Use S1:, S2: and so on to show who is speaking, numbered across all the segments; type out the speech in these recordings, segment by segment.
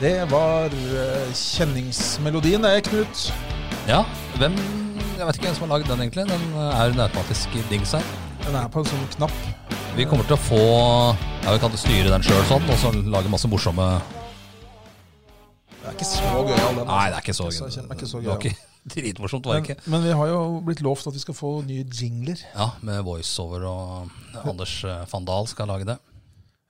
S1: Det var eh, kjenningsmelodien, det, Knut.
S2: Ja, hvem Jeg vet ikke hvem som har lagd den, egentlig. Den eh, er en automatisk dings her.
S1: Den er på en sånn knapp.
S2: Vi kommer til å få Ja, vi kan styre den sjøl sånn, og så lage masse morsomme
S1: Den er ikke så gøyal, den.
S2: Nei, det er ikke så
S1: Jeg kjenner meg ikke så
S2: Det var
S1: gøyal.
S2: ikke dritmorsomt, var det
S1: Men,
S2: ikke.
S1: men vi har jo blitt lovt at vi skal få nye jingler.
S2: Ja, med voiceover og Anders eh, Fandal skal lage det.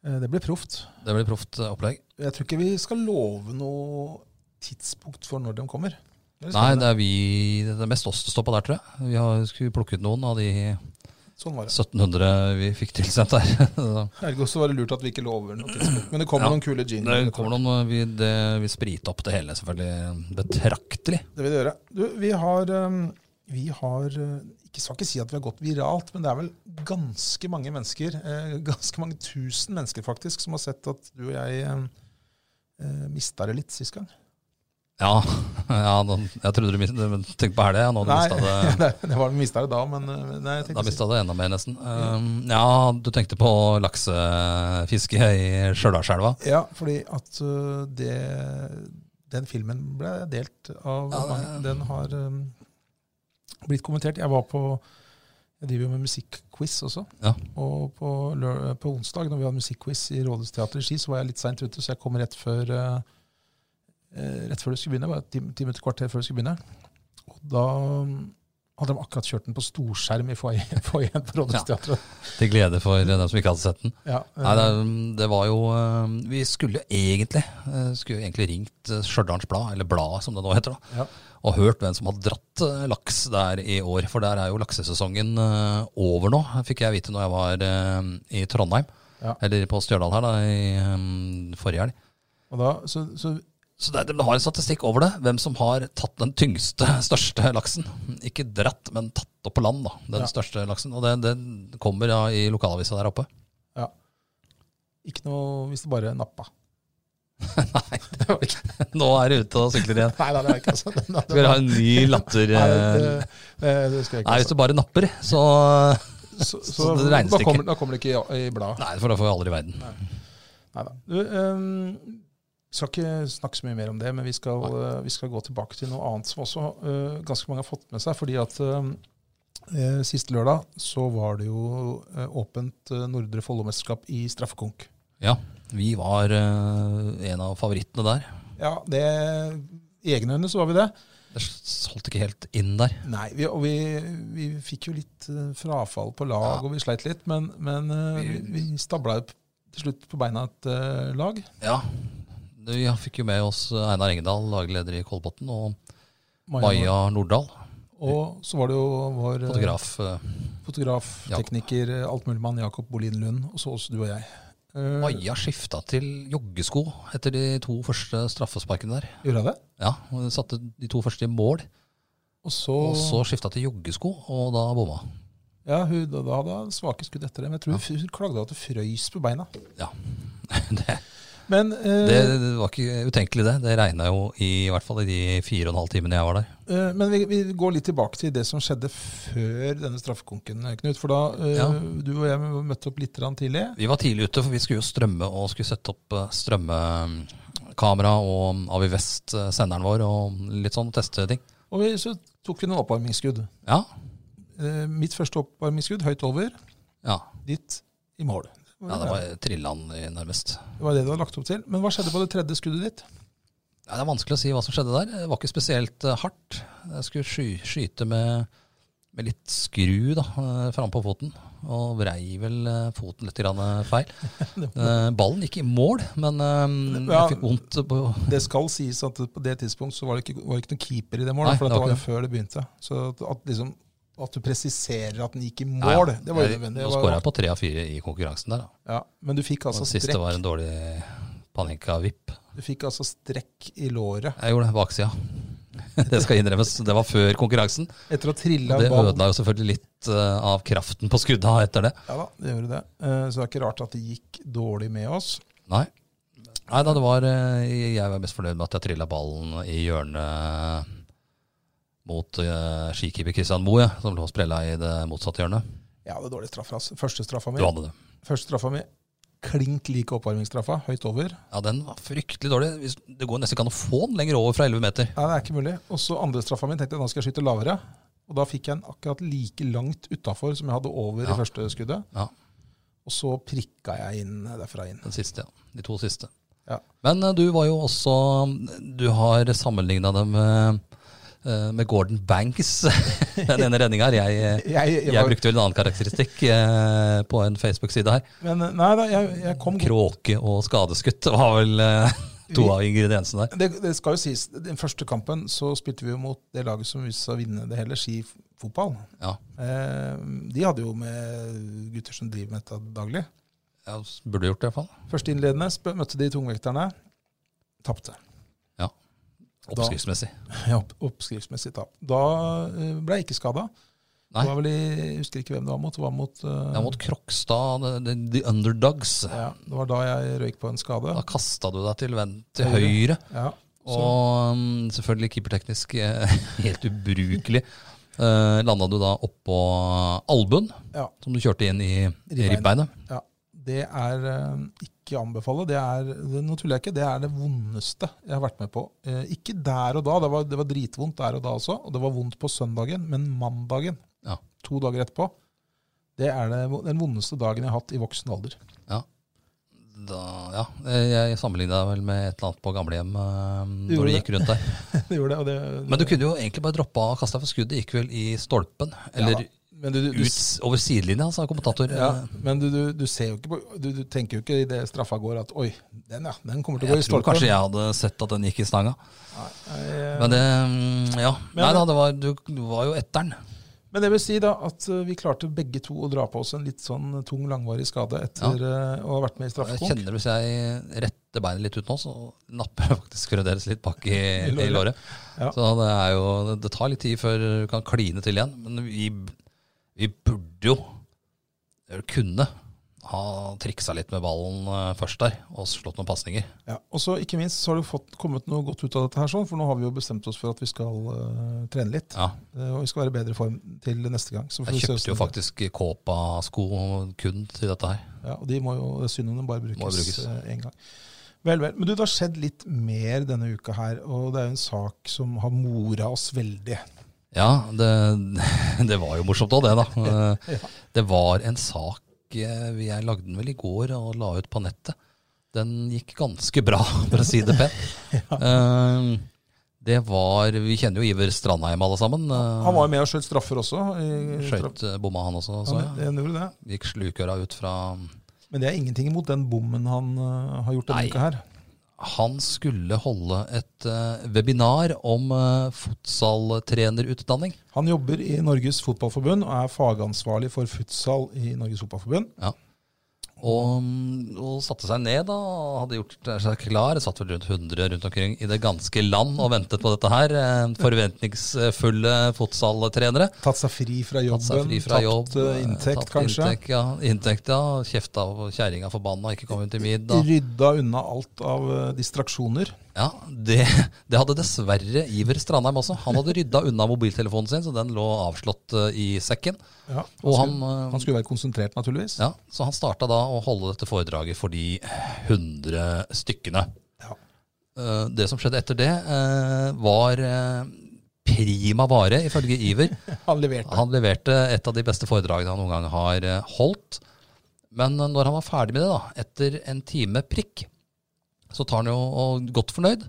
S1: Eh, Det blir proft.
S2: Det blir proft eh, opplegg.
S1: Jeg tror ikke vi skal love noe tidspunkt for når de kommer. Det er
S2: Nei,
S1: spennende.
S2: det er vi Det er mest oss det står på der, tror jeg. Vi har, skulle plukke ut noen av de
S1: Sånn var det.
S2: 1700 vi fikk tilsendt der. Så
S1: Ergo så var det lurt at vi ikke lover noe tidspunkt. Men det kommer
S2: Ja.
S1: noen kule jingler.
S2: Det kommer noen Vi, det, vi spriter opp det hele selvfølgelig betraktelig.
S1: Det vil det gjøre. Du, vi har, eh, vi har eh, ikke skal ikke si at vi har gått viralt, men det er vel ganske mange mennesker, eh, ganske mange tusen mennesker faktisk, som har sett at du og jeg ehm, eh, mista det litt sist gang.
S2: Ja, ja nå- jeg trodde du mis- men tenk på helga. Ja, nå
S1: Nei,
S2: mista det
S1: det, det var mista det da, men eh, nei, jeg
S2: Da
S1: tenkte
S2: mista det enda mer, nesten. Um, ja, du tenkte på laksefiske i Stjørdalselva?
S1: Ja, fordi at eh, det, den filmen ble delt av
S2: Ja,
S1: mange. Den har eh, blitt kommentert. Jeg var på jeg driver jo med musikkquiz også.
S2: Ja.
S1: Og på, lø- på onsdag, når vi hadde musikkquiz i Rådhusteatret i Ski, så var jeg litt seint ute, så jeg kom rett før eh, eh, rett før det skulle begynne. Bare ti, ti minutter kvarter før det skulle begynne. Og da mm, hadde de akkurat kjørt den på storskjerm i foajeen foajeen på Rådhusteatret.
S2: Til glede for dem som ikke hadde sett den.
S1: Ja. eh,
S2: Nei, det, um, det var jo um, Vi skulle jo egentlig eh, Skulle jo egentlig ringt eh, Stjørdals Blad, eller Bladet som det nå heter, da,
S1: Ja.
S2: og hørt hvem som har dratt eh, laks der i år. For der er jo laksesesongen eh, over nå, fikk jeg vite når jeg var eh, i Trondheim.
S1: Ja.
S2: Eller på Stjørdal her, da, i um, forrige helg.
S1: og da, så, så
S2: Så det, de har en statistikk over det. Hvem som har tatt den tyngste, største laksen. Ikke dratt, men tatt opp på land, da. Den
S1: Ja.
S2: største laksen. Og det, det kommer ja, i lokalavisa der oppe.
S1: ikke noe hvis det bare nappa.
S2: Nei, det var ikke Nå er det ute og sykler igjen.
S1: Nei, nei, det er ikke altså. Den,
S2: Skal dere ha en ny latter?
S1: Nei, det,
S2: eh?
S1: det, det skal jeg
S2: Nei,
S1: ikke
S2: hvis du bare napper, så
S1: altså. Så, så,
S2: så det regnes
S1: da,
S2: ikke.
S1: kommer, da kommer det ikke i, i bladet.
S2: Nei, for da får vi aldri verden.
S1: Neida. Du, ehm, vi skal ikke snakke så mye mer om det, men vi skal, eh, vi skal gå tilbake til noe annet som også eh, ganske mange har fått med seg. fordi at ehm, eh, eh, Sist lørdag så var det jo eh, åpent eh, Nordre Follo-mesterskap i straffekonk.
S2: Ja, vi var eh, en av favorittene der.
S1: Ja, det, I egne øyne så var vi det.
S2: Det solgte ikke helt inn der.
S1: Nei, vi, og vi, vi fikk jo litt eh, frafall på lag,
S2: Ja.
S1: og vi sleit litt. Men, men eh, vi, vi stabla jo p- til slutt på beina et eh, lag.
S2: Ja. Vi fikk jo med oss Einar Engedal, lagleder i Kolbotn, og
S1: Maja.
S2: Maja Nordahl,
S1: Og så var det jo vår eh,
S2: fotograf. eh,
S1: fotograf
S2: Jakob.
S1: tekniker, eh, altmuligmann Jakob Bolin Lund, og så også du og jeg. Eh,
S2: Maja skifta til joggesko etter de to første straffesparkene der.
S1: gjorde jeg det?
S2: Ja, og hun Satte de to første i mål,
S1: Og så,
S2: og så skifta til joggesko, og da bomma.
S1: Ja, hun da, da hadde hun svake skudd etter det, men jeg tror hun hun klagde at det frøys på beina.
S2: Ja. Det,
S1: Men eh,
S2: det var ikke utenkelig, det. Det regna jo i, hvert fall i de fire og en halv timene jeg var der.
S1: Eh, Men vi, vi går litt tilbake til det som skjedde før denne straffekonken, Knut. For da eh,
S2: Ja.
S1: du og jeg møtte opp litt grann tidlig.
S2: Vi var tidlig ute, for vi skulle jo strømme og skulle sette opp eh, strømmekamera og Avi Vest, eh, senderen vår, og litt sånn teste ting.
S1: Og vi, så tok vi noen oppvarmingsskudd.
S2: Ja.
S1: Eh, mitt første oppvarmingsskudd høyt over,
S2: Ja,
S1: ditt i mål.
S2: ja det var trilla han nærmest.
S1: det var det du hadde lagt opp til. Men hva skjedde på det tredje skuddet ditt?
S2: Ja, det er vanskelig å si hva som skjedde der. Det var ikke spesielt eh, hardt. Jeg skulle sky skyte med, med litt skru da, eh, framme på foten, og vrei vel eh, foten litt grann eh, feil. Eh, Ballen gikk i mål, men eh,
S1: Ja.
S2: jeg fikk vondt på
S1: Det skal sies at på det tidspunkt så var det ikke, var det ikke noen keeper i det målet,
S2: Nei,
S1: for
S2: det
S1: det
S2: var
S1: var jo
S2: ikke
S1: før det begynte. Så at, at, liksom, at du presiserer at den gikk i
S2: Ja, ja.
S1: mål, det var
S2: Jeg-
S1: unødvendig.
S2: Nå
S1: Det var-
S2: skåra jeg på tre av fire i konkurransen der. Da.
S1: Ja, men du fikk
S2: Og
S1: altså
S2: den siste
S1: strekk.
S2: var en dårlig Panenka-vipp.
S1: Du fikk altså strekk i låret
S2: Jeg gjorde det. Baksida. Det skal innrømmes. Det var før konkurransen.
S1: etter å ha trilla
S2: Og det
S1: ball.
S2: ødela jo selvfølgelig litt eh, av kraften på skudda etter det.
S1: Ja da, det gjorde det. Eh, Så det er ikke rart at det gikk dårlig med oss.
S2: Nei. Nei da, det var eh, Jeg var mest fornøyd med at jeg trilla ballen i hjørnet mot eh, skikeeper Christian Moe, som lå og sprella i det motsatte hjørnet.
S1: Jeg hadde dårlig straff. ass. Første straffa mi
S2: Du hadde det.
S1: Første straffa mi klink lik oppvarmingsstraffa, høyt over.
S2: Ja, den var fryktelig dårlig. Hvis- Det går nesten ikke an å få den lenger over fra 11 meter.
S1: Nei, det er ikke mulig. Og så andre straffa mi tenkte jeg nå skal jeg skyte lavere. Og da fikk jeg den akkurat like langt utafor som jeg hadde over
S2: Ja.
S1: i første skuddet.
S2: Ja.
S1: Og så prikka jeg inn eh, derfra inn.
S2: Den siste, ja. De to siste.
S1: Ja.
S2: Men eh, du var jo også Du har sammenligna det med, eh, med Gordon Banks, den ene redninga her. Jeg, eh,
S1: Jeg, jeg
S2: jeg
S1: var,
S2: brukte vel en annen karakteristikk eh, på en Facebook-side her.
S1: men eh, nei da, jeg, jeg kom godt.
S2: Kråke og skadeskutt var vel eh, to av ingrediensene der.
S1: Det, det skal jo sies, den første kampen så spilte vi jo mot det laget som viste seg å vinne det hele, Ski f- fotball.
S2: Ja.
S1: Eh, de hadde jo med gutter som driver med dette daglig.
S2: Jeg burde gjort det, iallfall.
S1: Førsteinnledende sp- møtte de tungvekterne. Tapte.
S2: Oppskriftsmessig.
S1: Ja, opp- oppskriftsmessig tap. Da eh, ble jeg ikke skada.
S2: Nei.
S1: Det var vel i, jeg husker ikke hvem det var mot. Det var mot, eh,
S2: Ja, mot Krokstad, the, the underdogs.
S1: ja, det var da jeg røyk på en skade.
S2: Da kasta du deg til, ven- til
S1: Høyre.
S2: høyre.
S1: Ja, så,
S2: Og um, selvfølgelig keeperteknisk eh, helt ubrukelig. Uh, Landa du da oppå albuen,
S1: Ja.
S2: som du kjørte inn i i
S1: Ribbeinet.
S2: ribbeinet.
S1: det er eh, ikke å anbefale. Det er, det, nå tuller jeg ikke, det er det vondeste jeg har vært med på. Eh, ikke der og da, det var, det var dritvondt der og da også. Og det var vondt på søndagen, men mandagen,
S2: Ja.
S1: to dager etterpå, det er det, vo- den vondeste dagen jeg har hatt i voksen alder.
S2: Da, ja, eh, jeg sammenligna deg vel med et eller annet på gamlehjem eh,
S1: Du gjorde
S2: når du gikk rundt der.
S1: det gjorde det, og det,
S2: Men du kunne jo egentlig bare droppa og kasta for skuddet. Gikk vel i stolpen, eller
S1: Ja, men du, du, du,
S2: ut over sidelinja, sa kommentator.
S1: ja,
S2: Eh,
S1: men du, du, du ser jo ikke på, du, du tenker jo ikke i det straffa går at oi, den ja, den kommer til å gå i
S2: Jeg tror
S1: stolpen.
S2: kanskje jeg hadde sett at den gikk i stanga.
S1: Nei, eh,
S2: Men det, mm, ja.
S1: Men-
S2: Nei da, det var, du, du var jo etteren.
S1: Men det vil si da at eh, vi klarte begge to å dra på oss en litt sånn tung, langvarig skade etter eh, å ha vært med i
S2: Jeg
S1: straffekonk.
S2: kjenner hvis jeg retter beinet litt ut nå, så napper jeg faktisk fremdeles litt bak i,
S1: I låret.
S2: i låret.
S1: Ja.
S2: Så det, er jo, det tar litt tid før du kan kline til igjen. Men vi, vi burde jo eller kunne ha triksa litt med ballen eh, først der, og slått noen pasninger.
S1: Ja. Og så ikke minst så har det fått, kommet noe godt ut av dette her, sånn, for nå har vi jo bestemt oss for at vi skal eh, trene litt.
S2: Ja,
S1: eh, og vi skal være i bedre form til neste gang. Så får
S2: jeg
S1: vi se
S2: kjøpte jo
S1: hvordan det-
S2: faktisk Kåpa-sko kun til dette her.
S1: Ja, og de må jo synene bare brukes,
S2: Må brukes.
S1: eh, en gang. Vel, vel. Men du, det har skjedd litt mer denne uka her, og det er jo en sak som har mora oss veldig.
S2: Ja, det, det var jo morsomt òg, det, da. Eh, Det var en sak eh, Jeg lagde den vel i går og la ut på nettet. Den gikk ganske bra, for å si det pent. Eh, Det var Vi kjenner jo Iver Strandheim, alle sammen. Eh,
S1: Han var jo med og skjøt straffer også. i-
S2: Skøyt eh, bomma, han også. Så,
S1: Han,
S2: ja.
S1: han gjorde det.
S2: Gikk slukøra ut fra
S1: Men det er ingenting imot den bommen han eh, har gjort denne
S2: Nei.
S1: uka her.
S2: Han skulle holde et eh, webinar om eh, futsaltrenerutdanning.
S1: Han jobber i Norges Fotballforbund og er fagansvarlig for futsal i Norges Fotballforbund.
S2: Og, mm, og satte seg ned da, og hadde gjort seg klar. Det satt vel rundt 100 rundt omkring i det ganske land og ventet på dette her. Eh, Forventningsfulle fotsaltrenere.
S1: Tatt seg fri fra jobben,
S2: Tatt seg fri fra
S1: tapt
S2: jobb.
S1: eh, inntekt
S2: tapt
S1: kanskje.
S2: Inntekt, ja, inntekt, ja. Kjefta og kjerringa forbanna, ikke kom inn til middag.
S1: Rydda unna alt av eh, distraksjoner.
S2: Ja, det, det hadde dessverre Iver Strandheim også. Han hadde rydda unna mobiltelefonen sin, så den lå avslått eh, i sekken.
S1: Ja,
S2: Og han,
S1: skulle,
S2: eh,
S1: han skulle være konsentrert, naturligvis.
S2: ja, så han starta da å holde dette foredraget for de 100 stykkene.
S1: Ja.
S2: Eh, det som skjedde etter det, eh, var eh, prima vare, ifølge Iver.
S1: Han leverte.
S2: Han leverte et av de beste foredragene han noen gang har eh, holdt. Men eh, når han var ferdig med det, da, etter en time prikk, så tar han jo, og godt fornøyd,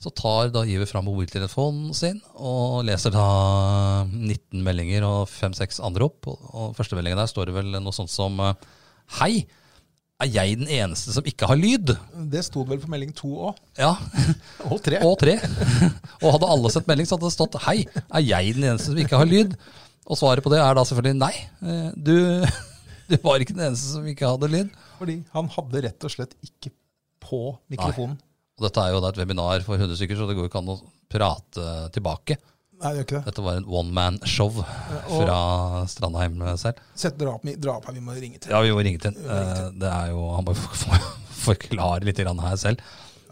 S2: så tar da Iver fram mobiltelefonen sin og leser da 19 meldinger og 5-6 anrop. Og, og første meldingen der står det vel noe sånt som eh, Hei, er jeg den eneste som ikke har lyd?
S1: Det sto det vel på melding to òg.
S2: Ja,
S1: Og tre.
S2: og tre. Og hadde alle sett melding, så hadde det stått 'Hei, er jeg den eneste som ikke har lyd?' Og svaret på det er da selvfølgelig nei. Eh, Du, du var ikke den eneste som ikke hadde lyd.
S1: Fordi han hadde rett og slett ikke på mikrofonen.
S2: Og dette er jo da et webinar for 100 stykker, så det går jo ikke an å prate tilbake.
S1: Nei, det gjør ikke det.
S2: Dette var en one man-show
S1: Og
S2: fra Strandheim selv.
S1: sett drap, drap her vi må ringe til.
S2: Ja, vi må ringe til ham. Eh, Det er jo, han må jo for- forklare litt grann her selv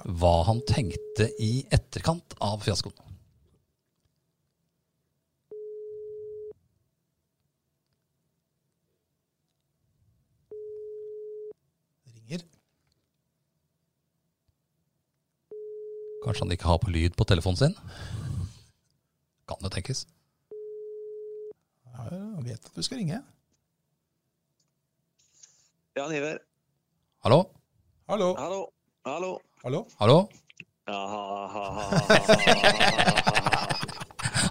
S2: hva han tenkte i etterkant av fiaskoen.
S1: Ringer.
S2: Kanskje han ikke har på lyd på telefonen sin? Kan det tenkes.
S1: Ja, jeg vet at du skal ringe.
S3: Jan Iver.
S2: Hallo?
S1: Hallo.
S3: Hallo. Hallo.
S1: Hallo.
S2: Hallo?
S3: Ja, ha, ha, ha, ha, ha, ha, ha, ha.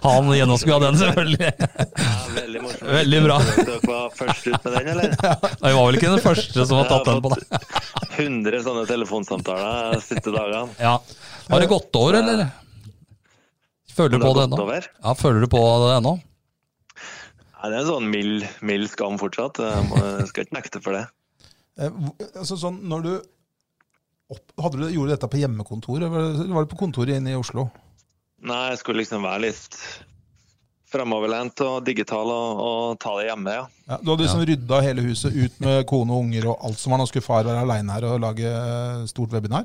S2: Han gjennomskua den, selvfølgelig.
S3: Ja, veldig morsomt.
S2: Veldig bra.
S3: Dere var først ut med den, eller?
S2: Nei, Jeg var vel ikke den første som har tatt den på deg.
S3: 100 sånne telefonsamtaler de siste dagene.
S2: Ja. Har det gått over, eller? Føler du på
S3: Har det
S2: det
S3: gått
S2: ennå?
S3: over?
S2: Ja, føler du på det ennå?
S3: Ja, det er en sånn mild, mild skam fortsatt. Jeg må- jeg skal ikke nekte for det.
S1: Eh, hvor- altså, sånn, når du opp, hadde du, Gjorde du dette på hjemmekontor, eller var det- eller var det på kontoret inne i Oslo?
S3: Nei, jeg skulle liksom være litt framoverlent og digital og, og ta det hjemme, ja.
S1: Ja, du hadde liksom rydda hele huset ut med kone og unger og alt som var. Nå skulle far være aleine her og lage eh, stort webinar.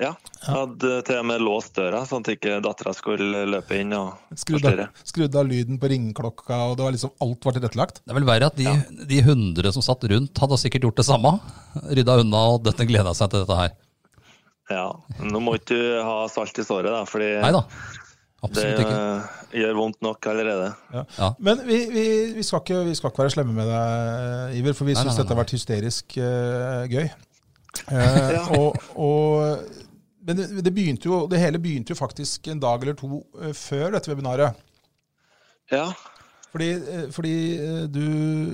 S3: Ja, jeg hadde til og med låst døra, sånn at ikke dattera skulle løpe inn og
S1: Skrudd av,
S3: forstyrre.
S1: skrudd av lyden på ringeklokka, og det var liksom alt var tilrettelagt.
S2: Det er vel verre at de, de hundre som satt rundt, hadde sikkert gjort det samme. Rydda unna, og dette gleda seg til dette her.
S3: Ja, Nå må ikke du ha salt i såret, da, fordi
S2: Nei da.
S3: det
S2: Absolutt ikke.
S3: eh, gjør vondt nok allerede.
S1: Men vi, vi, vi, skal ikke, vi skal ikke være slemme med deg, eh, Iver, for vi
S2: Nei, nei,
S1: syns
S2: nei,
S1: dette har
S2: nei.
S1: vært hysterisk eh, gøy. Eh,
S3: Ja.
S1: og, og, men det, det, begynte jo, det hele begynte jo faktisk en dag eller to eh, før dette webinaret.
S3: Ja,
S1: Fordi, eh, fordi eh, du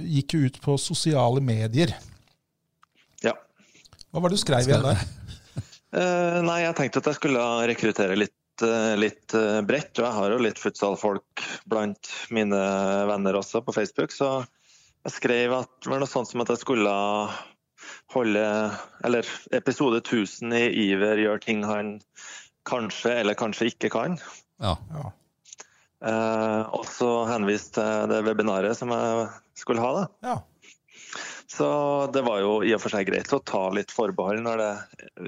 S1: gikk jo ut på sosiale medier.
S3: ja.
S1: Hva var det du skrev igjen der?
S3: Eh, nei, jeg tenkte at jeg skulle rekruttere litt, eh, litt eh, bredt. Og jeg har jo litt futsalfolk blant mine venner også på Facebook. Så jeg skrev at det var noe sånt som at jeg skulle holde Eller episode 1000 i Iver gjør ting han kanskje eller kanskje ikke kan.
S2: Ja.
S1: Ja.
S3: Eh, og så henvist til det webinaret som jeg skulle ha. da.
S1: ja.
S3: Så det var jo i og for seg greit å ta litt forbehold når det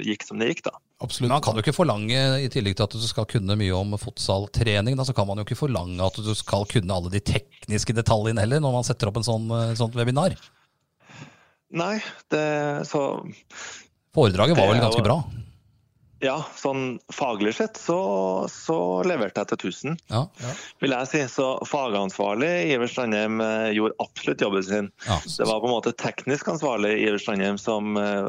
S3: gikk som det gikk, da.
S1: Absolutt.
S2: Men man kan jo ikke forlange, i tillegg til at du skal kunne mye om fotsaltrening, da, så kan man jo ikke forlange at du skal kunne alle de tekniske detaljene heller, når man setter opp en sånn, eh, sånt webinar.
S3: Nei, det, så
S2: Foredraget var
S3: Det
S2: vel
S3: er
S2: ganske
S3: jo-
S2: bra.
S3: Ja, sånn faglig sett så, så leverte jeg til 1000,
S2: Ja.
S3: vil jeg si. Så fagansvarlig Iver Strandheim eh, gjorde absolutt jobben sin.
S2: ja.
S3: Det var på en måte teknisk ansvarlig Iver Strandheim som eh,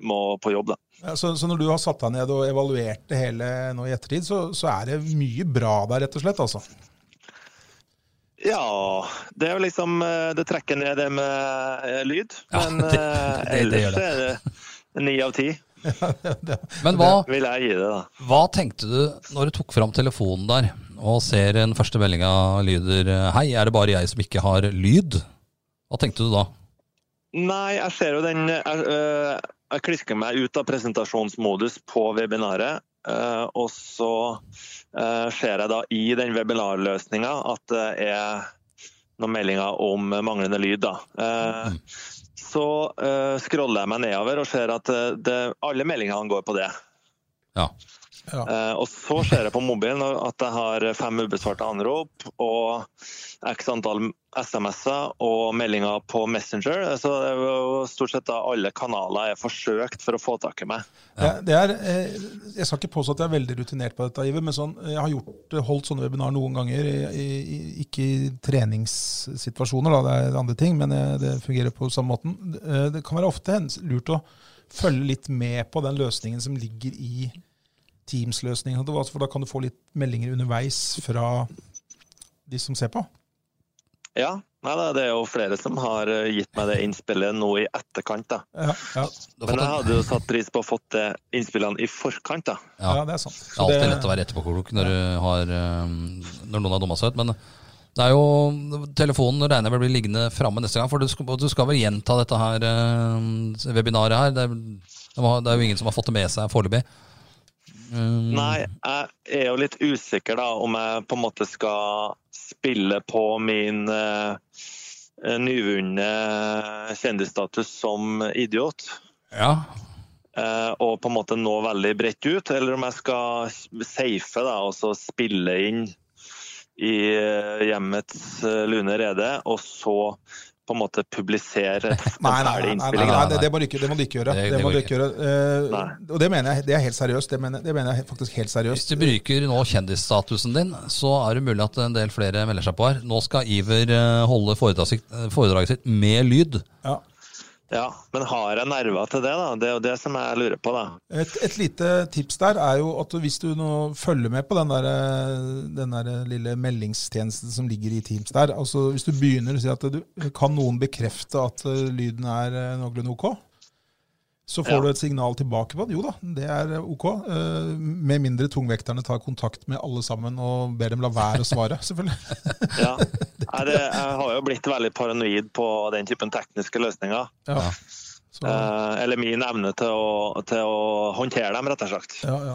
S3: må på jobb, da.
S1: Ja, så, så når du har satt deg ned og evaluert det hele nå i ettertid, så, så er det mye bra der, rett og slett. altså.
S3: Ja, det er jo liksom eh, Det trekker ned det med eh, lyd,
S2: Ja,
S3: men
S2: det-
S3: eh,
S2: det- det gjør
S3: ellers er det ni av ti,
S2: Men hva,
S3: vil jeg gi det, da.
S2: hva tenkte du når du tok fram telefonen der, og ser den første meldinga lyder eh, Hei, er det bare jeg som ikke har lyd? Hva tenkte du da?
S3: Nei, jeg ser jo den Jeg, eh, jeg klisker meg ut av presentasjonsmodus på webinaret. eh, og så eh, ser jeg da i den webinarløsninga at det er noen meldinger om manglende lyd. da. Eh, Så eh, scroller jeg meg nedover og ser at eh, det, alle meldingene går på det.
S2: Ja.
S1: Ja.
S3: Eh, og så ser jeg på mobilen at jeg har fem ubesvarte anrop og x antall SMS-er og meldinger på Messenger. Så det er jo stort sett da alle kanaler jeg har forsøkt for å få tak i meg.
S1: Det, det er, eh, jeg skal ikke påstå at jeg er veldig rutinert på dette, Iver, men sånn, jeg har gjort, holdt sånne webinar noen ganger. I, i, ikke i treningssituasjoner, da, det er andre ting, men eh, det fungerer på samme måten. Eh, Det kan være ofte hens- lurt å følge litt med på den løsningen som ligger i Teams-løsningen. sånn For da kan du få litt meldinger underveis fra de som ser på.
S3: Ja, nei, da, det er jo flere som har eh, gitt meg det innspillet nå i etterkant. da.
S1: Ja, ja,
S2: Du har
S3: Men
S2: fått
S3: jeg
S2: en,
S3: hadde jo satt pris på å fått det innspillene i forkant. da.
S2: Ja.
S1: ja, det er sant.
S2: det er alltid lett å være etterpåklok når, du har, eh, når noen har dumma seg ut, men det er jo, telefonen regner jeg vel blir liggende framme neste gang, for du skal, du skal vel gjenta dette her eh, webinaret her. Det er, De har, det er jo ingen som har fått det med seg foreløpig. Mm,
S3: Nei, jeg er jo litt usikker da om jeg på en måte skal spille på min uh, nyvunne kjendisstatus som idiot.
S2: Ja,
S3: eh, og på en måte nå veldig bredt ut, eller om jeg skal safe da, og så spille inn i eh, hjemmets eh, lune rede, og så på en måte publisere et- en
S1: Nei, nei, nei,
S3: ferdig
S1: nei,
S3: innspilling.
S1: nei,
S3: da.
S1: nei, det må du ikke, det må du ikke gjøre.
S2: Det-
S1: Det,
S2: det
S1: må
S2: går
S1: du ikke gjøre. Eh,
S3: Nei.
S1: og det mener jeg det er helt seriøst. Det mener, det mener jeg faktisk helt
S2: Hvis
S1: seriøst.
S2: du bruker nå kjendisstatusen din, så er det mulig at en del flere melder seg på her. Nå skal Iver eh, holde foredraget sitt, foredraget sitt med lyd.
S1: Ja.
S3: Ja, men har jeg nerver til det, da? Det er jo det som jeg lurer på, da.
S1: Et, et lite tips der er jo at du- hvis du nå følger med på den der, eh, den der lille meldingstjenesten som ligger i Teams der altså Hvis du begynner å si at du kan noen bekrefte at eh, lyden er eh, noenlunde ok, så får
S3: Ja.
S1: du et signal tilbake på at jo da, det er ok. eh, Med mindre tungvekterne tar kontakt med alle sammen og ber dem la være å svare, selvfølgelig.
S3: Ja. Nei, det, jeg har jo blitt veldig paranoid på den typen tekniske løsninger.
S1: Ja. Så, ja,
S3: Eh, eller min evne til å, til å håndtere dem, rett og slett.
S1: ja, ja.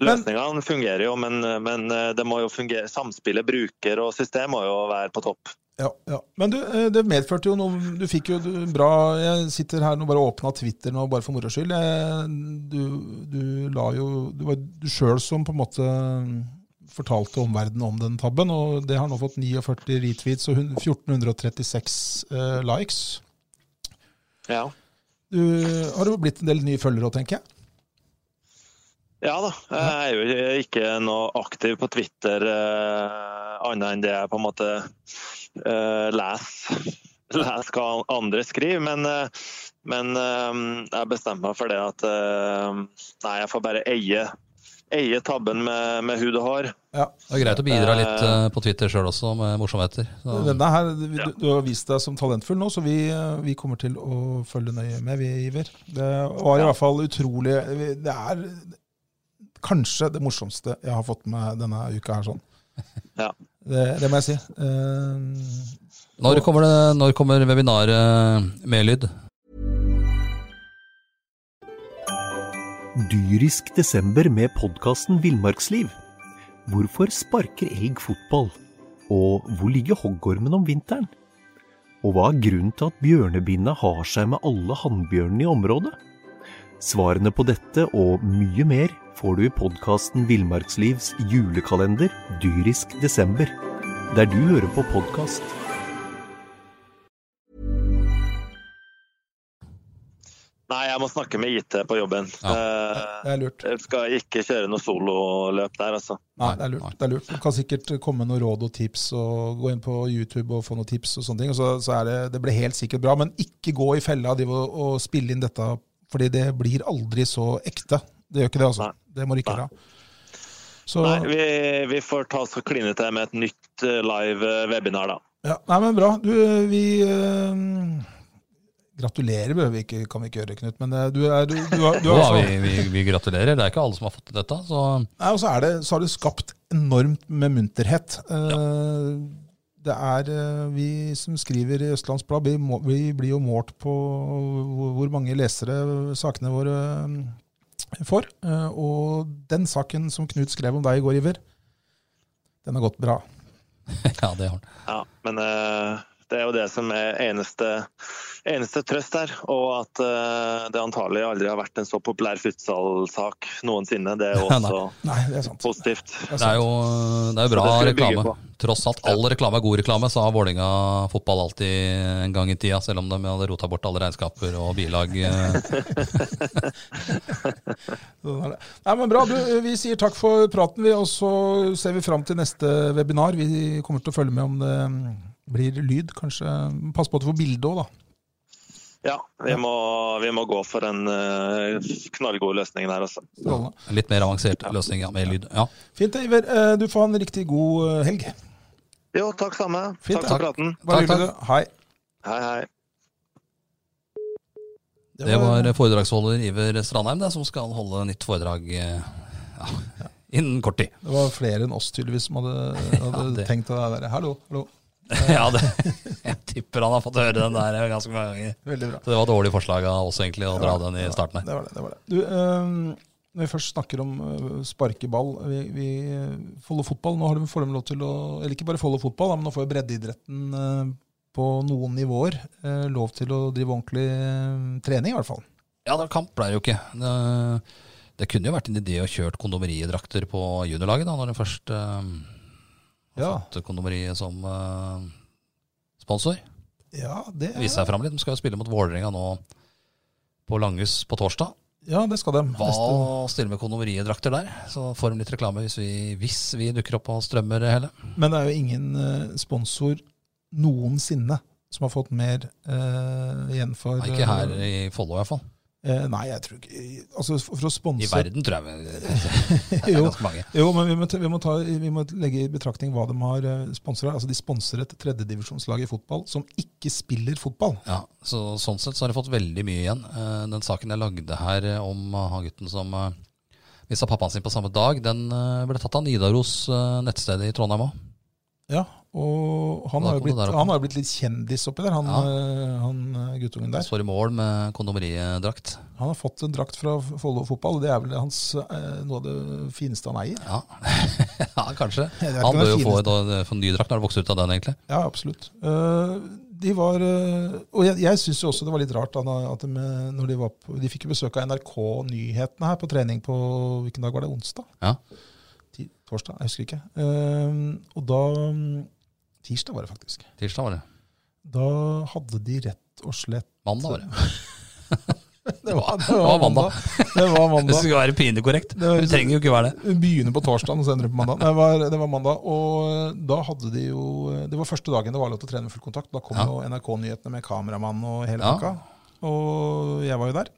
S1: Men-
S3: Løsningene fungerer jo, men, men eh, det må jo fungere, samspillet bruker og system må jo være på topp.
S1: Ja, ja. Men du, eh, det medførte jo noe Du fikk jo du- bra Jeg sitter her nå bare og åpna Twitter nå, bare for moro skyld. Jeg- Du, du la jo Det var du sjøl som på en måte eh, fortalte omverdenen om den tabben, og det har nå fått 49 retweets og hun- 1436 eh, likes.
S3: Ja,
S1: Du har jo blitt en del nye følgere òg, tenker jeg.
S3: ja da. Jeg er jo ikke noe aktiv på Twitter eh, annet enn det jeg på en måte eh, leser. Les hva andre skriver, men, eh, men eh, jeg bestemmer meg for det at eh, Nei, jeg får bare eie, eie tabben med, med hud og hår.
S2: Det er greit å bidra litt eh, på Twitter sjøl også, med morsomheter. Så,
S1: Denne her, du,
S3: Ja.
S1: du har vist deg som talentfull nå, så vi, eh, vi kommer til å følge nøye med, vi, Iver. Det var i hvert fall utrolig Det er kanskje det morsomste jeg har fått med denne uka her, sånn.
S3: Ja.
S1: Det, det må jeg si. Eh,
S2: når, kommer det, når kommer webinaret med lyd?
S4: Dyrisk desember med podkasten Villmarksliv. Hvorfor sparker elg fotball? Og hvor ligger hoggormen om vinteren? Og hva er grunnen til at bjørnebinna har seg med alle hannbjørnene i området? Svarene på dette og mye mer får du i podkasten Villmarkslivs julekalender Dyrisk desember, der du hører på podkast.
S3: Nei, jeg må snakke med IT på jobben. Eh,
S1: det er lurt.
S3: jeg skal ikke kjøre noe sololøp der, altså.
S1: Nei, det er lurt. Det er lurt. Du kan sikkert komme med noen råd og tips, og gå inn på YouTube og få noen tips og sånne ting. Og så, så er det, det blir helt sikkert bra, men ikke gå i fella drive og, og spille inn dette, fordi det blir aldri så ekte. Det gjør ikke det, altså.
S3: Nei.
S1: Det må du ikke
S3: Nei.
S1: gjøre. Så,
S3: Nei, vi, vi får ta oss og kline til med et nytt eh, live eh, webinar, da.
S1: ja, nei, men bra. Du, vi eh, Gratulerer behøver vi ikke, kan vi ikke gjøre, Knut, men eh, du er du, du har, du
S2: Jo,
S1: har
S2: da,
S3: sånn.
S1: så,
S2: vi, vi, vi gratulerer. Det er ikke alle som har fått til dette. Så
S1: Nei, og så, er det, så har det skapt enormt med munterhet. Eh, Det er eh, vi som skriver i Østlands Blad, vi, må, vi blir jo målt på hvor hvor mange lesere sakene våre eh, får. Eh, Og den saken som Knut skrev om deg i går, Iver, den har gått bra.
S2: ja, det har den.
S3: Ja, men eh, det er jo det som er eneste, eneste trøst her. Og at eh, det antagelig aldri har vært en så populær futsalsak noensinne. Det er jo også
S1: Nei, det er sant.
S3: positivt.
S2: Det er jo, det er jo bra
S3: Så det skal vi bygge
S2: reklame. Tross alt all reklame er god reklame, sa Vålinga fotball alltid en gang i tida, selv om de hadde rota bort alle regnskaper og bilag. eh,
S1: Sånn er det. Nei, men bra. Du, eh, vi sier takk for praten, vi, og så ser vi fram til neste webinar. Vi kommer til å følge med om det mm, blir lyd, kanskje. Pass på at du får bilde òg, da.
S3: Ja, vi må, vi må gå for en eh, knallgod løsning der, altså.
S1: Strålende.
S2: Litt mer avansert løsning ja, med lyd. Ja.
S1: Fint, Iver. Eh, Du får ha en riktig god eh, helg.
S3: Jo, takk samme.
S1: Fint,
S3: takk
S1: ja.
S3: for praten.
S1: Bare
S2: Takk,
S1: hyggelig, du. Hei.
S3: Hei, hei.
S2: Det var foredragsholder Iver Strandheim det, som skal holde nytt foredrag eh, ja, innen kort tid.
S1: det var flere enn oss tydeligvis som hadde, hadde
S2: det-
S1: tenkt å være Hallo, hallo.
S2: Ja, det tipper han har fått høre den der ganske mange ganger.
S1: Veldig bra.
S2: Så det var et dårlig forslag av oss egentlig å dra den i starten her.
S1: Det var det. det, var det. Du, eh, når vi først snakker om eh, sparkeball vi, vi, eh, Follo fotball, nå har de får de lov til å Eller ikke bare Follo fotball, da, men nå får jo breddeidretten eh, på noen nivåer eh, lov til å drive ordentlig eh, trening, i hvert fall.
S2: Ja, da, kamp ble det jo ikke. Det, det kunne jo vært en idé å kjørt kondomeriedrakter på juniorlaget, da, når en først eh,
S1: Ja,
S2: fått kondomeriet som eh, sponsor.
S1: ja, det,
S2: Vise seg fram litt. De skal jo spille mot Vålerenga nå på Langhus på torsdag.
S1: ja, det skal de.
S2: Hva
S1: Neste-
S2: stille med kondomeriedrakter der? Så får de litt reklame hvis vi, hvis vi dukker opp og strømmer hele.
S1: Men det er jo ingen eh, sponsor noensinne som har fått mer eh, igjen for
S2: Nei, Ikke her i Follo i hvert fall.
S1: Eh, nei, jeg tror ikke Altså, for å
S2: I
S1: sponse
S2: verden tror jeg vi- det er
S1: Jo.
S2: ganske mange.
S1: Jo, men vi må, ta- vi, må ta, vi må legge i betraktning hva de har sponsora. Altså, de sponser et tredjedivisjonslag i fotball som ikke spiller fotball.
S2: Ja, så Sånn sett så har jeg fått veldig mye igjen. Eh, Den saken jeg lagde her eh, om eh, han gutten som eh, mista pappaen sin på samme dag, den eh, ble tatt av Nidaros eh, nettsted i Trondheim òg.
S1: Ja, og han
S2: Da
S1: har jo
S2: kom det
S1: blitt,
S2: der opp.
S1: han har jo blitt litt kjendis oppi der, han,
S2: Ja.
S1: eh, han eh, guttungen der.
S2: Står i mål med kondomeridrakt.
S1: Han har fått en drakt fra Follo fotball, og det er vel hans, eh, noe av det fineste han eier.
S2: Ja. ja, kanskje.
S1: Jeg vet ikke
S2: Han
S1: om det
S2: bør jo
S1: er
S2: få et- få en ny drakt når han vokser ut av den, egentlig.
S1: Ja, absolutt. Eh, de var eh, Og jeg, jeg syns jo også det var litt rart da, når- at de, eh, når de var på De fikk jo besøk av NRK Nyhetene her på trening på Hvilken dag var det? Onsdag?
S2: Ja.
S1: Ti- Torsdag? Jeg husker ikke. Eh, og da mm, Tirsdag var det faktisk.
S2: Tirsdag var det.
S1: Da hadde de rett og slett
S2: Mandag var det.
S1: Det var,
S2: det var mandag.
S1: Det var
S2: Det
S1: mandag.
S2: skal være pinlig korrekt.
S1: Det var-
S2: Det trenger jo ikke være det.
S1: Vi begynner på torsdag og sender det på mandag. Det var, det var mandag, og eh, da hadde de jo eh, Det var første dagen det var lov til å trene med full kontakt. Da kom
S2: Ja.
S1: jo NRK-nyhetene med kameramann og hele
S2: Ja.
S1: pakka. Og jeg var jo der.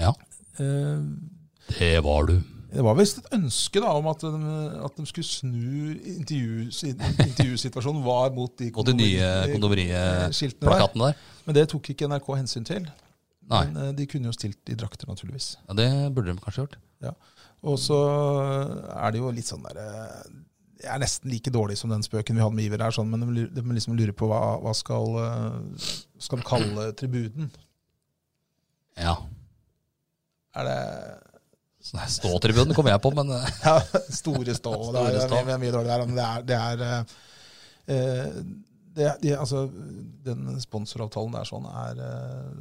S2: Ja,
S1: Eh,
S2: det var du.
S1: Det var visst et ønske da om at de, at de skulle snu intervjus, intervjusituasjonen var mot de
S2: Og de nye kondomeriet
S1: kondomeriskiltene der.
S2: plakaten der.
S1: Men det tok ikke NRK hensyn til.
S2: Nei.
S1: Men eh, de kunne jo stilt i drakter, naturligvis.
S2: Ja, det burde de kanskje gjort.
S1: Og så er det jo litt sånn der eh, Jeg er nesten like dårlig som den spøken vi hadde med Iver her, sånn, men de lurer- de liksom lurer på hva, hva skal, eh, skal de kalle tribunen.
S2: Ja.
S1: Er det
S2: Så nei, Ståtribunen kom jeg på, men eh,
S1: ja, Store stå. og det,
S2: Store
S1: er, det,
S2: stå.
S1: er, mye- mye dårlig der, men det er, det er eh, eh, det, er- de, altså, Den sponsoravtalen der sånn er eh,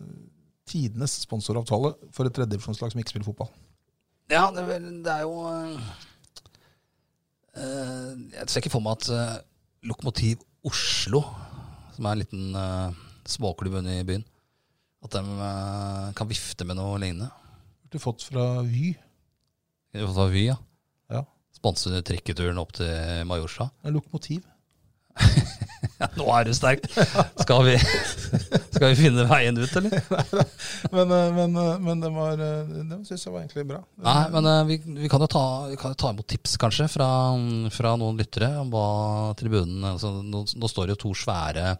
S1: tidenes sponsoravtale for et tredjedivisjonslag som ikke spiller fotball.
S2: Ja, det, er vel- det er jo eh, eh, Jeg ser ikke for meg at eh, Lokomotiv Oslo, som er en liten eh, småklubb inne i byen, at de eh, kan vifte med noe lignende.
S1: Burde fått fra Vy.
S2: Det var Vy, ja.
S1: Ja.
S2: Sponse trikketuren opp til Majorstua.
S1: En lokomotiv.
S2: Ja, nå er du sterk! Skal vi, skal vi finne veien ut, eller?
S1: Men, eh, men, eh, men den, var, eh, den syns jeg var egentlig bra.
S2: Nei, men eh, vi, vi kan jo ta, vi kan jo ta imot tips, kanskje, fra, fra noen lyttere om hva tribunen altså, nå, nå står det jo to svære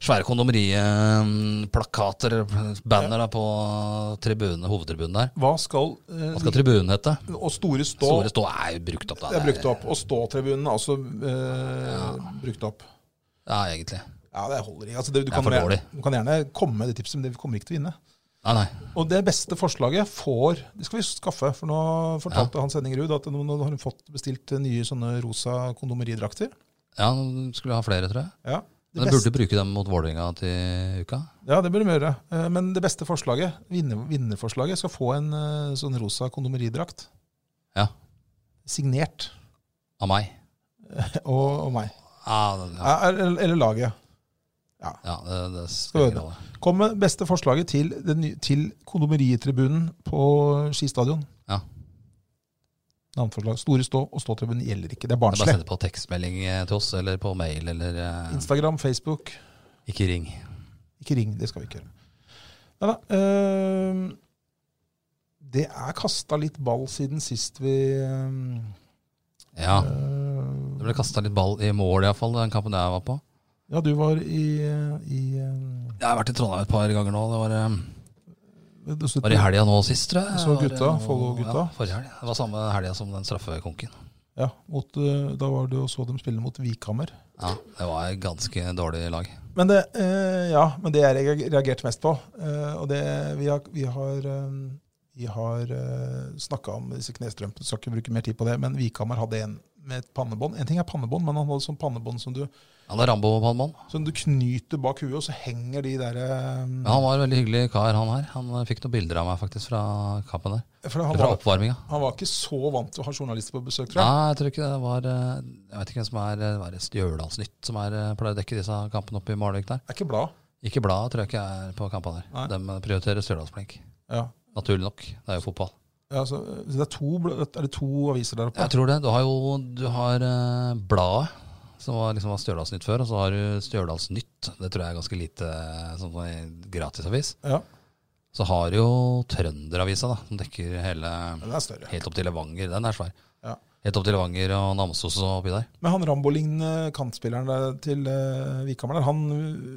S2: Svære kondomeriplakater, banner, da, på tribunen, hovedtribunen der.
S1: Hva skal, eh,
S2: Hva skal tribunen hete?
S1: Og store stå.
S2: Store stå er jo brukt opp, da.
S1: Det er brukt opp. Og ståtribunen er også eh, brukt opp.
S2: Ja, egentlig.
S1: Ja, det holder ikke. Altså, det, du,
S2: Det er
S1: kan
S2: for
S1: gjerne,
S2: dårlig.
S1: du kan gjerne komme med det tipset, men det kommer ikke til å vinne.
S2: Nei, nei.
S1: Og det beste forslaget får Det skal vi skaffe. For nå fortalte Hans Henning Ruud at nå, nå har hun fått bestilt nye sånne rosa kondomeridrakter.
S2: Ja, nå skulle ha flere, tror jeg.
S1: Ja, det
S2: Men jeg
S1: beste-
S2: burde bruke dem mot Vålerenga til uka.
S1: Ja, det burde vi gjøre. Eh, Men det beste forslaget, vinner, vinnerforslaget, skal få en eh, sånn rosa kondomeridrakt.
S2: Ja.
S1: Signert.
S2: Av meg.
S1: Og, og meg.
S2: Ja, ja,
S1: Er- Eller, eller laget.
S2: ja det, det spiller ingen rolle.
S1: Kom med beste forslaget til, den ny- til kondomeritribunen på Ski stadion.
S2: Ja.
S1: Navneforslag. Store stå og ståtribunen gjelder ikke. Det er
S2: Det er Bare
S1: barnslig.
S2: send det på tekstmelding eh, til oss, eller på mail, eller eh,
S1: Instagram, Facebook.
S2: ikke ring.
S1: Ikke ring, det skal vi ikke gjøre. Neida, eh, det er kasta litt ball siden sist vi eh,
S2: Ja,
S1: eh,
S2: det ble kasta litt ball i mål iallfall, den kampen jeg var på.
S1: Ja, du var i, i eh,
S2: Jeg har vært i Trondheim et par ganger nå. Det var, eh,
S1: du så-
S2: var i helga nå sist, tror jeg.
S1: Så
S2: Var, eh,
S1: gutta,
S2: nå-
S1: Follo-gutta.
S2: Ja, forrige helg. Det var samme helga som den straffekonken.
S1: Ja, mot, eh, da var det jo så dem spille mot Vikhammer.
S2: Ja, det var et ganske dårlig lag.
S1: Men det, eh, ja, men det jeg reag- reagerte mest på, eh, og det vi har, vi har, eh, vi har eh, snakka om disse knestrømpene, skal ikke bruke mer tid på det, men Vikhammer hadde en med et pannebånd. En ting er pannebånd, men han hadde sånn pannebånd som du,
S2: Han er Rambo-palmen.
S1: som du knyter bak huet, og så henger de der eh,
S2: Men han var en veldig hyggelig kar, han her. Han eh, fikk noen bilder av meg faktisk fra kampen der.
S1: For han
S2: Fra
S1: var,
S2: oppvarminga.
S1: han var ikke så vant til å ha journalister på besøk, tror jeg.
S2: Nei, jeg tror ikke det var eh, Jeg vet ikke hvem som er eh, hva er det, Stjørdalsnytt som er, eh, pleier å dekke disse kampene oppe i Malvik der.
S1: Det er ikke bladet.
S2: Ikke bladet tror jeg ikke er på kampene
S1: Nei.
S2: der. De prioriterer Stjørdalsblink.
S1: Ja.
S2: Naturlig nok. Det er jo fotball.
S1: Ja, så, så det er, to, bl- er det to aviser der oppe?
S2: Jeg tror det. Du har jo du har eh, Bladet, som var, liksom, var Stjørdalsnytt før, og så har du Stjørdalsnytt. Det tror jeg er ganske lite eh, sånn sånn gratisavis.
S1: Ja,
S2: Så har du jo Trønderavisa, da, som dekker hele
S1: den er større.
S2: Helt opp til Levanger. Den er svær.
S1: Ja.
S2: Helt opp til Levanger og Namsos og oppi der.
S1: Men han Rambo-lignende kantspilleren der til eh, Vikhammer der, han,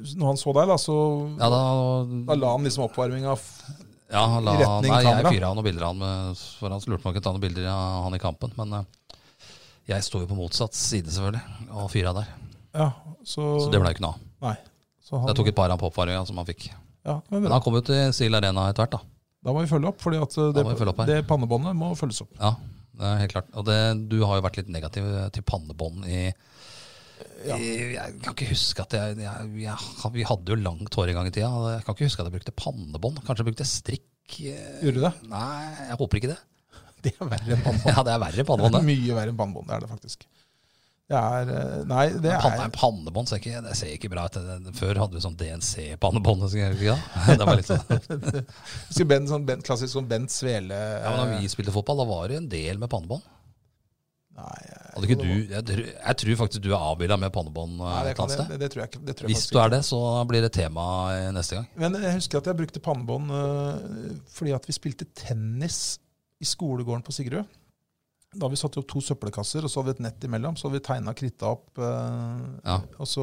S1: når han så deg, da, så
S2: Ja, da,
S1: da la han liksom oppvarminga f-
S2: ja, han la,
S1: i retning
S2: nei, jeg
S1: kamera.
S2: fyra av noen bilder av han, med- for han lurte på om han kunne ta noen bilder av han i kampen. Men eh, jeg sto jo på motsatt side, selvfølgelig, og fyra der.
S1: Ja, så,
S2: Så det ble jo ikke noe av.
S1: Nei. Så han,
S2: Jeg tok et par av på oppvarminga som han fikk.
S1: ja, det var
S2: Men
S1: bra.
S2: han kom jo til Steel Arena etter hvert, da.
S1: Da må vi følge opp, fordi at eh,
S2: Da
S1: det,
S2: må vi følge opp her.
S1: det pannebåndet må følges opp.
S2: Ja, det er helt klart. Og det, du har jo vært litt negativ til pannebånd i, i Jeg kan ikke huske at jeg, jeg, jeg Vi hadde jo langt hår en gang i tida. og Jeg kan ikke huske at jeg brukte pannebånd. Kanskje jeg brukte strikk. eh,
S1: Gjorde du det?
S2: Nei, jeg håper ikke det.
S1: Det er verre enn pannebånd.
S2: Ja, det er verre
S1: Det er
S2: pannebånd, det.
S1: mye verre enn pannebånd, det er det faktisk. Det er eh, Nei, det
S2: Men
S1: er
S2: Panne, pannebånd ser ikke, det ser ikke bra ut. Det- det- Før hadde vi sånn DNC-pannebånd. husker jeg ikke, da. Det var litt sånn.
S1: Husker Bent, sånn Bent, klassisk sånn Bent Svele
S2: Ja, men da vi spilte fotball, da var det en del med pannebånd.
S1: Nei, jeg-
S2: Hadde ikke du, jeg, tror- jeg tror faktisk du er avbilda med pannebånd
S1: nei
S2: eh,
S1: det,
S2: et
S1: kan,
S2: annet
S1: det,
S2: sted.
S1: det, det tror jeg ikke. Det tror jeg
S2: Hvis
S1: faktisk
S2: du er det, så blir det tema eh, neste gang.
S1: Men jeg husker at jeg brukte pannebånd eh, fordi at vi spilte tennis i skolegården på Sigrud. Da hadde vi satt opp to søppelkasser, og så hadde vi et nett imellom. Så hadde vi tegna kritta opp. eh,
S2: Ja.
S1: Og så,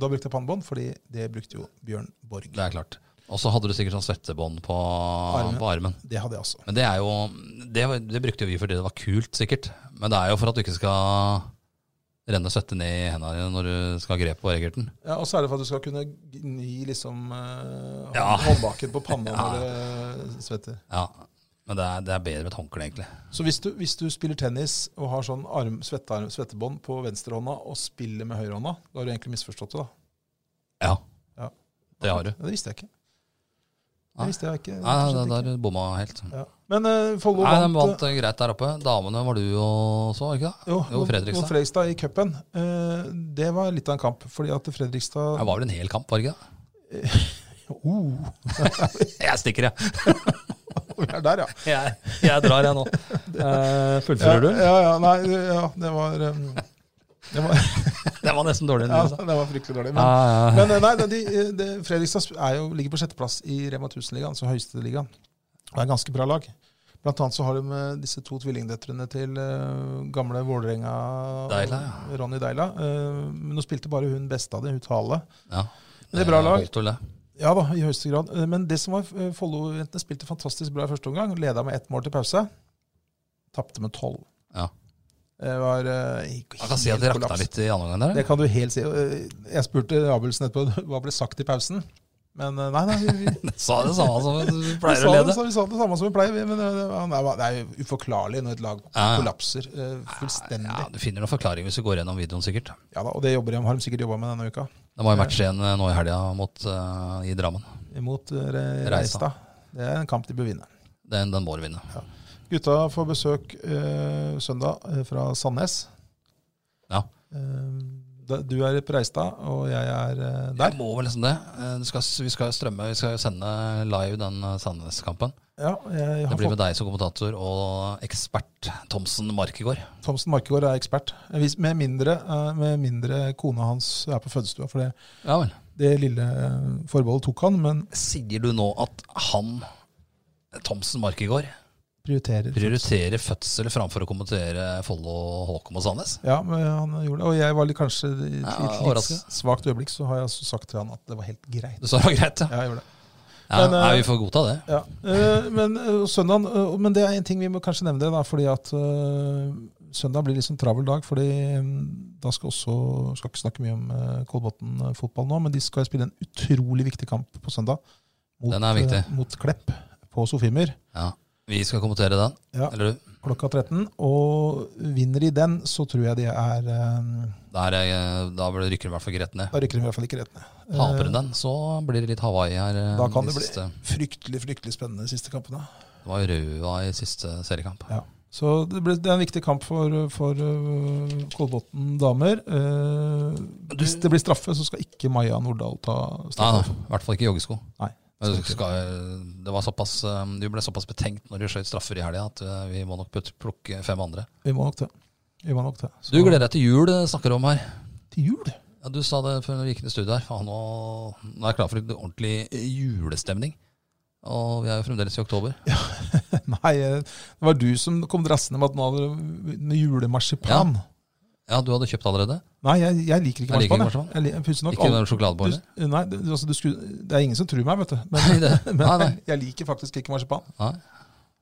S1: Da brukte jeg pannebånd, fordi det brukte jo Bjørn Borg.
S2: Det er klart. Og så hadde du sikkert sånn svettebånd på,
S1: Armen.
S2: på armen.
S1: Det hadde jeg også.
S2: Men det er jo det, var- det brukte jo vi fordi det var kult, sikkert. Men det er jo for at du ikke skal renne svette ned i hendene dine når du skal ha grep på regelten.
S1: Ja, Og så er det for at du skal kunne gni liksom eh,
S2: Ja.
S1: håndbaken på panna
S2: Ja.
S1: når du svetter.
S2: Ja. Men det er, det er bedre med et håndkle, egentlig.
S1: Så hvis du, hvis du spiller tennis og har sånn arm, svettearm, svettebånd på venstrehånda og spiller med høyrehånda, da har du egentlig misforstått det, da.
S2: Ja.
S1: Ja.
S2: Det har du.
S1: Ja, Det visste jeg ikke.
S2: Nei.
S1: Det visste jeg ikke.
S2: Nei,
S1: Fortsatt
S2: nei,
S1: ikke.
S2: der der bomma helt.
S1: Ja. Men eh, Follo
S2: Nei, de
S1: vant,
S2: vant eh, greit der oppe. Damene var du og så, ikke det?
S1: eh, jo,
S2: jo,
S1: mot-
S2: Fredrikstad.
S1: mot Fredrikstad i cupen. Eh, det var litt av en kamp, fordi at Fredrikstad
S2: Det var vel en hel kamp, var det ikke det?
S1: oh,
S2: Jeg stikker, jeg.
S1: Vi er der, ja.
S2: Jeg, jeg drar, jeg nå. Eh, fullfører
S1: ja, Ja, ja, nei, det- ja, det var em, det var,
S2: Det var nesten dårligere
S1: ja,
S2: enn du sa.
S1: det var fryktelig dårlig. Men,
S2: Ja, ja.
S1: men eh, nei, det- de, eh, det, Fredrikstad sp- er jo, ligger på sjetteplass i Rema 1000-ligaen, så høyeste ligaen. Det er et ganske bra lag. Blant annet så har de med disse to tvillingdøtrene til eh, gamle Vålerenga
S2: Deila, ja.
S1: Ronny Deila. eh, men nå spilte bare hun beste av det, hun Tale.
S2: Ja.
S1: Det er bra lag.
S2: Holdt vel det.
S1: Ja da, i høyeste grad. Eh, Men det som var, eh, Follo-jentene spilte fantastisk bra i første omgang. Leda med ett mål til pause. Tapte med tolv.
S2: Ja.
S1: Det var eh, gikk
S2: Man kan si at
S1: helt
S2: det
S1: kollaps.
S2: rakna litt i andre omgang der.
S1: Det kan du helt si. Eh, Jeg spurte Abelsen etterpå hva ble sagt i pausen. Men eh, nei, nei, vi, vi, vi,
S2: Sa det samme som du pleier
S1: sa
S2: å
S1: det,
S2: lede.
S1: sa- vi sa det samme som vi pleier. vi, Men eh, det var- det er jo uforklarlig når et lag
S2: Ja, ja.
S1: kollapser eh,
S2: Ja,
S1: fullstendig.
S2: Du finner noen forklaring hvis du går gjennom videoen, sikkert.
S1: Ja da, Og det jobber de, har de sikkert jobba med denne uka.
S2: Det var jo match igjen eh, nå i helga mot eh, i Drammen.
S1: Imot eh,
S2: Reistad.
S1: Reistad. Det er en kamp de bør vinne.
S2: Den, den må du vinne.
S1: Gutta får besøk eh, søndag eh, fra Sandnes.
S2: Ja.
S1: Eh, da- du er på Reistad, og jeg er eh, der.
S2: Jeg må vel nesten det. Eh, Du skal, vi skal jo strømme, vi skal jo sende live den eh, Sandnes-kampen.
S1: Ja, jeg
S2: Det
S1: har
S2: blir
S1: fått
S2: med deg som kommentator og ekspert Thomsen Markegård.
S1: Thomsen Markegård er ekspert. Hvis, med, mindre, eh, med mindre kona hans er på fødestua. For det,
S2: Ja vel.
S1: det lille eh, forbeholdet tok han, men
S2: Sier du nå at han, eh, Thomsen Markegård,
S1: prioriterer.
S2: prioriterer fødsel framfor å kommentere Follo, Håkom og Sandnes?
S1: Ja, men han gjorde det. Og jeg var litt, kanskje i et
S2: Ja,
S1: litt,
S2: overrasket.
S1: litt svakt øyeblikk, så har jeg altså sagt til han at det var helt greit.
S2: Du sa det var greit, ja.
S1: Ja, jeg gjorde det.
S2: ja
S1: Men, eh,
S2: nei, vi får godta det.
S1: Ja, eh, men, eh, søndagen, eh, men det er en ting vi må kanskje nevne, da, fordi at eh, søndag blir litt sånn travel dag, fordi mm, da skal også skal ikke snakke mye om eh, Kolbotn fotball nå, men de skal spille en utrolig viktig kamp på søndag mot,
S2: Den er viktig.
S1: eh, mot Klepp på Sofimyr
S2: Ja. Vi skal kommentere den.
S1: Ja.
S2: Eller du?
S1: klokka 13. Og vinner de den, så tror jeg de er eh,
S2: Der er, jeg- da blir det rykker det i hvert fall greit ned.
S1: Da rykker de i hvert fall ikke rett ned.
S2: Taper de den, så blir det litt Hawaii her. eh,
S1: Eh, Da kan det
S2: de
S1: bli-
S2: siste.
S1: Fryktelig, fryktelig spennende de siste kampene.
S2: Det var jo Røa i siste seriekamp.
S1: Ja. Så det, ble, det er en viktig kamp for, for øh, Kolbotn damer. Eh, hvis det blir straffe, så skal ikke Maja Nordahl ta
S2: Nei,
S1: straffe.
S2: nei, i hvert fall ikke joggesko.
S1: Nei.
S2: Men du skal, det var såpass, eh, du ble såpass betenkt når du skjøt straffer i helga, at eh, vi må nok putt- plukke fem andre.
S1: Vi må nok til. Vi må nok til. Så-
S2: Ah. Du gleder deg til jul, eh, snakker du om her.
S1: til jul?
S2: Ja, du sa det før vi gikk inn i studio her. Faen, nå, nå er jeg klar for litt ordentlig julestemning. Og vi er jo fremdeles i oktober.
S1: Nei, eh, det var du som kom drassende med at nå hadde dere med julemarsipan.
S2: Ja, du hadde kjøpt allerede?
S1: Nei, jeg, jeg liker ikke
S2: Jeg liker ikke
S1: marsipan.
S2: marsipan.
S1: Jeg, jeg, pussig nok,
S2: Ikke
S1: alle-
S2: noen sjokoladeboller?
S1: du, nei, du, altså, du skulle, det er ingen som tror meg, vet du. Men,
S2: Nei, det-
S1: men
S2: Ah, nei, nei.
S1: jeg liker faktisk ikke marsipan.
S2: Nei.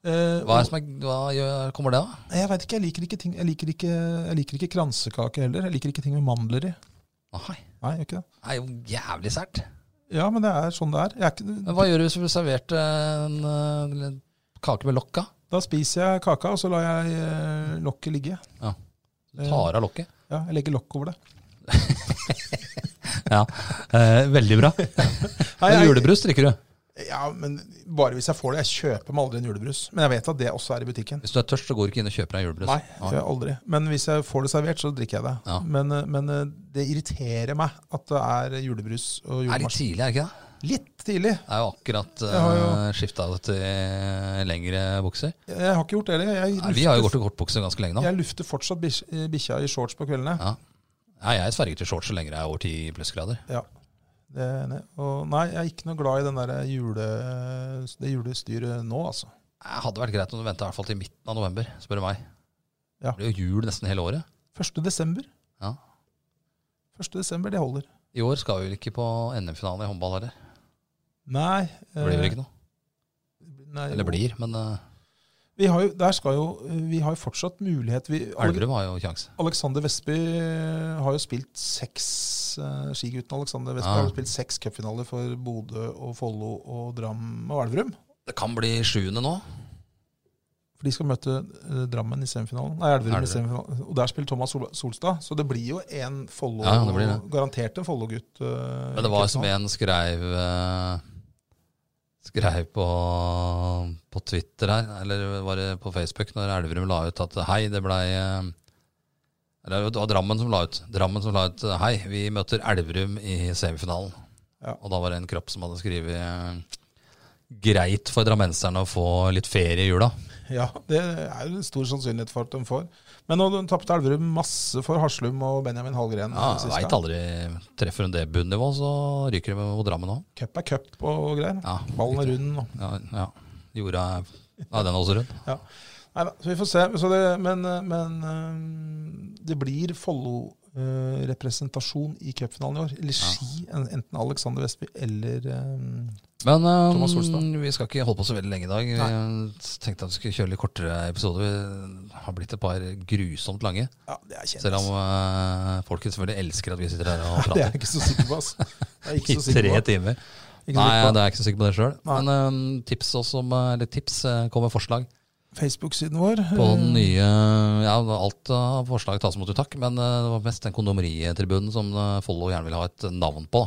S1: Eh, og-
S2: Hva, er det som er, hva gjør, kommer det av?
S1: Nei, Jeg vet ikke, jeg liker ikke ting Jeg liker ikke, jeg liker ikke kransekake heller. Jeg liker ikke ting med mandler i.
S2: Nei,
S1: Nei, jeg gjør ikke det.
S2: det er jo jævlig sært.
S1: Ja, men det er sånn det er. Jeg er ikke,
S2: Men hva gjør du hvis du serverte en, eh, en kake med lokka?
S1: da spiser jeg kaka, og så lar jeg eh, lokket ligge. Eh,
S2: Du tar av lokket?
S1: Ja, jeg legger lokk over det.
S2: Ja, veldig bra.
S1: Eh, Nei, jeg-
S2: julebrus drikker du.
S1: Ja, men Bare hvis jeg får det. Jeg kjøper meg aldri en julebrus. Men jeg vet at det også er i butikken.
S2: Hvis du er tørst, så går du ikke inn og kjøper deg julebrus.
S1: Nei, det gjør jeg aldri. Men hvis jeg får det servert, så drikker jeg det.
S2: Ja.
S1: Men, eh, men eh, det irriterer meg at det er julebrus og
S2: Det er litt
S1: julemarsipan.
S2: tidlig, er det ikke det?
S1: Litt tidlig.
S2: Det er jo akkurat
S1: Jeg har jo-
S2: uh, skifta til eh, lengre bukser.
S1: Jeg har ikke gjort det heller. Jeg,
S2: Nei, vi har jo
S1: lufter-
S2: gått i kortbukse ganske lenge nå.
S1: jeg lufter fortsatt bikkj- bikkja i shorts på kveldene.
S2: Ja. Nei, jeg sverger til shorts så lenge det er over 10 plussgrader.
S1: Ja. Det, er jeg enig i. og nei, jeg er ikke noe glad i den der jule, det julestyret nå, altså.
S2: Det Eh, hadde vært greit om du venta til midten av november, spør du meg.
S1: Ja.
S2: Det blir jo jul nesten hele året.
S1: 1. desember.
S2: Ja.
S1: 1. desember, det holder.
S2: I år skal vi vel ikke på NM-finale i håndball heller.
S1: Nei. eh,
S2: Det blir vel ikke noe?
S1: Nei,
S2: Eller blir, men eh,
S1: Vi har jo, der skal jo, vi har jo fortsatt mulighet. Vi,
S2: Elverum har jo kjangs.
S1: Alexander Vestby har jo spilt seks eh, Skigutten Alexander Vestby
S2: Ja.
S1: har jo spilt seks cupfinaler for Bodø og Follo og Dram og Elverum.
S2: Det kan bli sjuende nå.
S1: For de skal møte eh, Drammen i semifinalen. Nei, Elverum
S2: Elverum.
S1: i semifinalen. Og der spiller Thomas Sol Solstad. Så det blir jo en Follo
S2: Ja, det blir det.
S1: Garantert en Follo-gutt. eh,
S2: Men det var
S1: i
S2: som
S1: finalen.
S2: en skrev eh, Skrev på, på Twitter her, eller var det på Facebook, når Elverum la ut at hei, det blei eh, Eller det var Drammen som la ut. Drammen som la ut hei, vi møter Elverum i semifinalen.
S1: Ja.
S2: Og da var det en kropp som hadde skrevet eh, Greit for drammenserne å få litt ferie i jula.
S1: Ja, det er jo stor sannsynlighet for at de får. Men nå tapte Elverum masse for Haslum og Benjamin Hallgren.
S2: Ja,
S1: sist
S2: Veit
S1: da.
S2: aldri. Treffer hun det bunnivå, så ryker de mot Drammen òg.
S1: Cup er cup og greier.
S2: Ja,
S1: Ballen er
S2: riktig.
S1: rund. og-
S2: Ja, ja. Jorda er ja, den er også rund.
S1: Ja. Nei da, så vi får se. Så det, men, eh, men eh, det blir Follo-representasjon i cupfinalen i år. Eller Ski. en- Enten Alexander Vestby eller eh,
S2: Men eh,
S1: Thomas Solstad.
S2: vi skal ikke holde på så veldig lenge i dag. Vi tenkte at vi skulle kjøre litt kortere episoder. Vi har blitt et par grusomt lange.
S1: Ja, det er kjedelig.
S2: Selv om eh, folket selvfølgelig elsker at vi sitter her
S1: Det er
S2: og
S1: jeg
S2: prater
S1: ikke så sikker på, altså. Det er jeg
S2: i
S1: ikke så sikker
S2: tre
S1: på.
S2: timer.
S1: Ikke så sikker
S2: Nei, det
S1: på.
S2: er jeg ikke så sikker på det sjøl.
S1: Nei.
S2: Men eh, tips også om eh, Eller tips eh, kommer forslag
S1: Facebook-siden vår.
S2: på den
S1: eh,
S2: nye Ja, alt av forslag tas imot i takk, men eh, det var mest den kondomeritribunen som eh, Follo gjerne vil ha et navn på.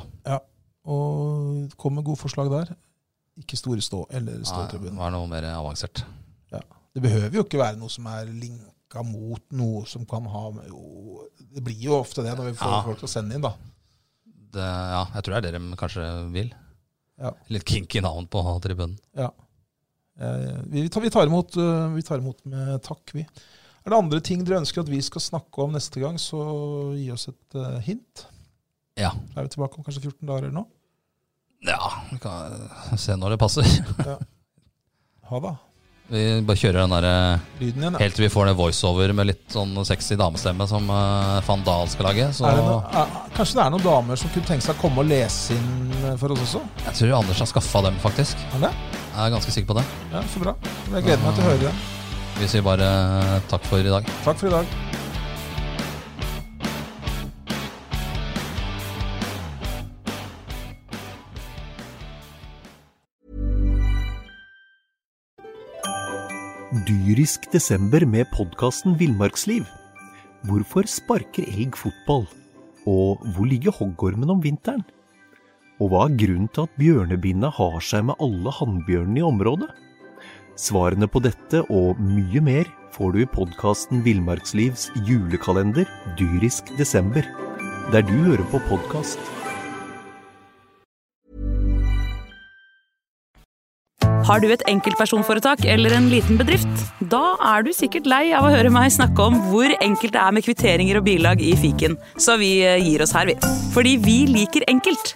S1: Og kom med gode forslag der. Ikke Store Stå eller
S2: Nei, Det
S1: Ståtribunen.
S2: var noe mer avansert.
S1: Det behøver jo ikke være noe som er linka mot noe som kan ha jo, Det blir jo ofte det når vi får
S2: Ja.
S1: folk til å sende inn, da.
S2: Det, ja, jeg tror det er det de kanskje vil.
S1: Ja.
S2: Litt kinky navn på tribunen.
S1: Ja. Eh, Vi tar, vi, tar imot, eh, vi tar imot med takk, vi. Er det andre ting dere ønsker at vi skal snakke om neste gang, så gi oss et eh, hint.
S2: Ja.
S1: Da er vi tilbake om kanskje 14 dager eller noe.
S2: ja, vi kan se når det passer.
S1: Ha det.
S2: Vi bare kjører den der eh,
S1: Lyden igjen. ja.
S2: helt til vi får den voiceover med litt sånn sexy damestemme som eh, Van Dahl skal lage. Så
S1: Er det noe, er, kanskje det er noen damer som kunne tenke seg å komme og lese inn eh, for oss også?
S2: jeg tror Anders har skaffa dem, faktisk.
S1: Er det?
S2: Jeg er ganske sikker på det.
S1: Ja, så bra. Jeg gleder meg til å høre det.
S2: Vi sier bare eh, takk for i dag.
S1: Takk for i dag.
S4: Dyrisk desember med podkasten Villmarksliv. Hvorfor sparker elg fotball? Og hvor ligger hoggormen om vinteren? Og hva er grunnen til at bjørnebinna har seg med alle hannbjørnene i området? Svarene på dette og mye mer får du i podkasten Villmarkslivs julekalender dyrisk desember, der du hører på podkast.
S5: Har du et enkeltpersonforetak eller en liten bedrift? Da er du sikkert lei av å høre meg snakke om hvor enkelt det er med kvitteringer og bilag i fiken, så vi eh, gir oss her, vi. Fordi vi liker enkelt.